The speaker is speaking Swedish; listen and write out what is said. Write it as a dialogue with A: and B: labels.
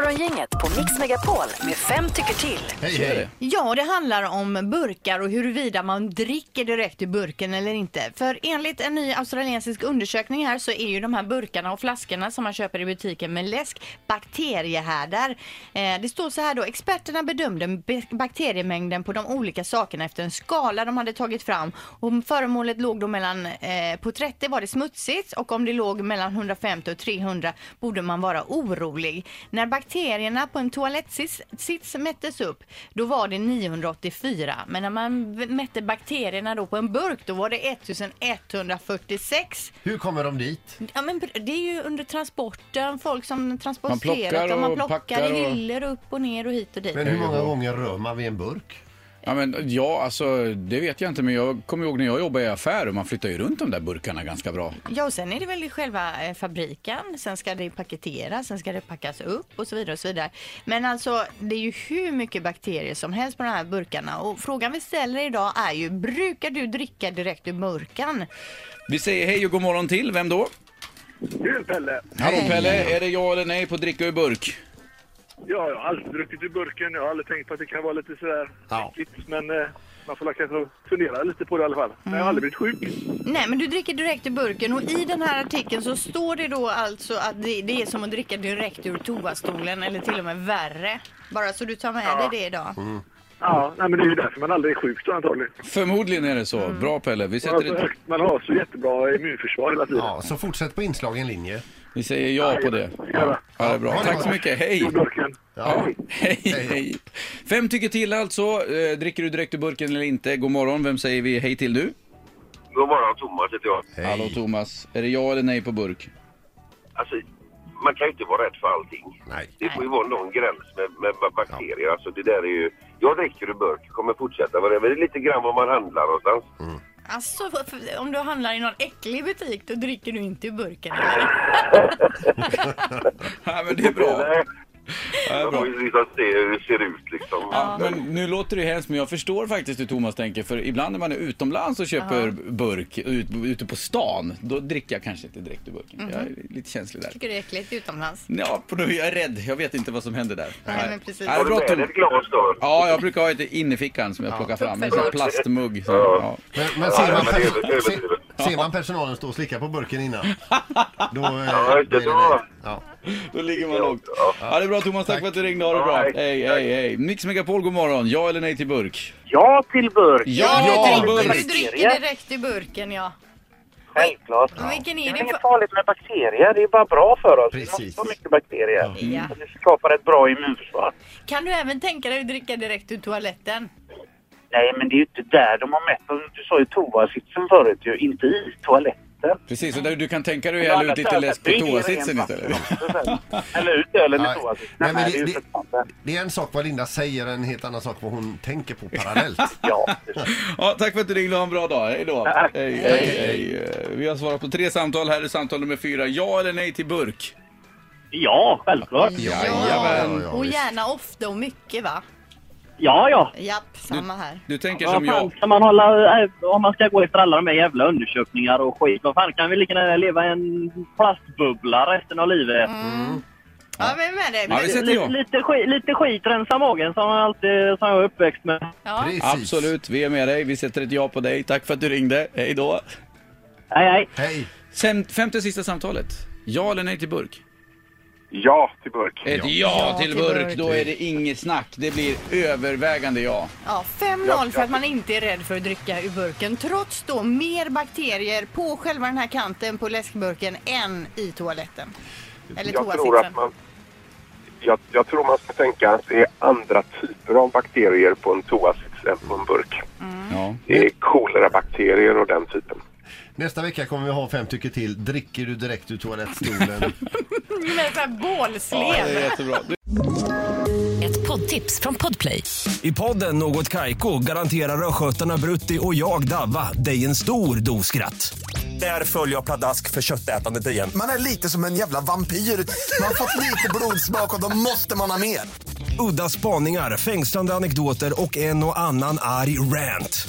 A: Morgongänget på Mix Megapol med fem tycker till.
B: Hej, hej.
C: Ja, och det handlar om burkar och huruvida man dricker direkt ur burken eller inte. För enligt en ny australiensisk undersökning här så är ju de här burkarna och flaskorna som man köper i butiken med läsk bakteriehärdar. Eh, det står så här då, experterna bedömde be- bakteriemängden på de olika sakerna efter en skala de hade tagit fram och föremålet låg då mellan, eh, på 30 var det smutsigt och om det låg mellan 150 och 300 borde man vara orolig. När bakterierna på en toalettsits sits mättes upp då var det 984 men när man v- mätte bakterierna då på en burk då var det 1146.
B: Hur kommer de dit?
C: Ja, men pr- det är ju under transporten, folk som transporterar
D: plockar
C: dem, man
D: och
C: plockar
D: packar
C: i
D: och-
C: hyllor upp och ner och hit och dit.
B: Men hur många gånger rör man vid en burk?
D: Ja, men, ja, alltså det vet jag inte, men jag kommer ihåg när jag jobbade i affär och man flyttar ju runt de där burkarna ganska bra.
C: Ja, och sen är det väl i själva eh, fabriken. Sen ska det paketeras, sen ska det packas upp och så vidare. och så vidare. Men alltså, det är ju hur mycket bakterier som helst på de här burkarna. Och frågan vi ställer idag är ju, brukar du dricka direkt ur burkan?
D: Vi säger hej och god morgon till, vem då?
E: Du Pelle!
D: Hallå Pelle, är det ja eller nej på dricka ur burk?
E: Ja, jag har aldrig druckit ur burken. Jag har aldrig tänkt på att det kan vara lite sådär
B: Ja.
E: äckligt, Men eh, man får väl kanske fundera lite på det i alla fall. Men jag har aldrig blivit sjuk.
C: Nej, men du dricker direkt ur burken och i den här artikeln så står det då alltså att det, det är som att dricka direkt ur toastolen eller till och med värre. Bara så du tar med dig det idag.
E: Ja, nej, men det är ju därför man aldrig är sjuk då antagligen.
D: Förmodligen är det så.
B: Mm.
D: Bra Pelle, vi,
E: Man har,
D: sätter
E: så
D: ett,
E: högt, man har så jättebra immunförsvar hela tiden.
B: Ja, så fortsätt på inslagen linje.
D: vi säger ja på det.
E: Ja.
D: Ja, det är bra.
B: Ja, det är
D: Tack så
B: bra.
D: mycket, hej!
E: Ur burken.
D: Ja, hej, hej. Fem tycker till alltså. Eh, Dricker du direkt ur burken eller inte? God morgon, vem säger vi hej till du?
F: God morgon, Thomas heter jag.
B: Hej.
D: Hallå Thomas, är det ja eller nej på burk?
F: Alltså, man kan ju inte vara rädd för allting.
B: Nej.
F: Det får ju vara någon gräns med, med, med bakterier. Alltså, det där är ju... Jag dricker ur burk, kommer fortsätta vara det. Men det är lite grann vad man handlar någonstans.
C: Alltså, för- för- om du handlar i någon äcklig butik då dricker du inte ur burken. eller?
D: Ja, men det är bra.
F: Nej,
D: Ja, det är
F: Man
D: bra.
F: får ju liksom se hur det ser ut liksom.
D: Ja, men nu låter det hemskt, men jag förstår faktiskt hur Thomas tänker. För ibland när man är utomlands och köper burk ut, ute på stan, då dricker jag kanske inte direkt ur burken. Jag är lite känslig där.
C: Tycker det är äckligt utomlands?
D: Ja, på nu, jag är rädd. Jag vet inte vad som händer där.
C: Nej, men precis.
D: Ja, det
F: Har
D: är
F: du
D: bra,
F: med dig
D: Tom.
F: ett glas då?
D: Ja, jag brukar ha ett i innerfickan som jag plockar fram. En sån här plastmugg. Så, ja.
B: Men, men ser, man
F: men det
B: pers-
F: är väl- det är väl-
B: se- ser man personalen stå och slicka på burken innan? Då, eh,
F: Ja, just det,
B: blir
F: då.
B: nej. Ja.
D: Då ligger man lågt. Ja, det är bra Thomas. Tack för att du ringde. Ha det
F: Ja,
D: bra.
F: hej.
D: Hej, hej, hej. Mix Megapol, god morgon. Ja eller nej till burk?
G: Ja till burk.
D: Ja, till
C: Du
D: burk!
C: dricker direkt ur burken, ja.
G: Självklart.
C: Men Vilken
G: Det
C: är
G: är väl
C: din
G: inget
C: fa-
G: farligt med bakterier, det är bara bra för oss. Vi
B: Precis.
G: måste ha mycket bakterier.
C: Ja.
G: Det skapar ett bra immunförsvar.
C: Kan du även tänka dig att dricka direkt ur toaletten?
G: Nej, men det är ju inte där de har mätt. dem. Du sa ju toasitsen förut ju, inte i toaletten.
D: Precis, och där du kan tänka dig
G: Men å
D: att hälla
G: andra
D: ut lite
G: sidan,
D: läsk
G: det
D: på
G: är ju ren
D: toasitsen
G: vatten
D: istället.
G: också sen. Eller ut ölen i
B: Nej.
G: toasitsen.
B: Nej,
G: Nej,
B: men
G: det är
B: det-
G: ju för fan.
B: Det är en sak vad Linda säger, en helt annan sak vad hon tänker på parallellt.
G: Ja,
D: Ja, tack för att du ringde och ha en bra dag. Hej då. Hej, hej, hej. Eh, Vi har svarat på tre samtal. Här är samtal nummer fyra. Ja eller nej till burk?
E: Ja, självklart.
D: Jajamän.
B: ja,
C: Och
B: visst.
C: gärna ofta och mycket, va?
E: Ja, ja.
C: Japp, samma här.
D: Du tänker
E: Vad
D: som
E: fan
D: jag.
E: ska man hålla, eh, om man ska gå efter alla de här jävla undersökningar och skit, vad fan kan vi lika gärna leva i en plastbubbla resten av livet?
C: Ja, vem är det?
D: Ja, vi Mm. sätter
E: Lite,
D: jag.
E: lite, skit, lite skit rensa magen som, man alltid, som jag är uppväxt med.
C: Ja.
B: Precis.
D: Absolut, vi är med dig. Vi sätter ett ja på dig. Tack för att du ringde. Hej då.
E: Nej, nej.
B: Hej.
D: Sen, femte sista samtalet. Ja eller nej till burk?
F: Ja, till burk.
D: Ett ja, till,
C: till
D: burk.
C: burk.
D: Då är det inget snack. Det blir övervägande ja.
C: Ja, 5-0 för att man inte är rädd för att dricka ur burken. Trots då mer bakterier på själva den här kanten på läskburken än i toaletten. Eller
F: Jag tror att
C: toasitsen.
F: man... Jag, jag tror man ska tänka att det är andra typer av bakterier på en toasits än på en burk.
D: ja.
F: Det är kolerabakterier och den typen.
B: Nästa vecka kommer vi ha fem tycker till. Dricker du direkt ur toalettstolen?
C: Med sån här
D: Ja, det är
C: bålslev.
D: jättebra. Du-
A: Ett poddtips från Podplay.
H: I podden Något Kaiko garanterar östgötarna Brutti och jag, Davva, dig en stor dos skratt. Där följer jag pladask för köttätandet igen.
I: Man är lite som en jävla vampyr. Man har fått lite blodsmak och då måste man ha mer.
H: Udda spaningar, fängslande anekdoter och en och annan arg rant.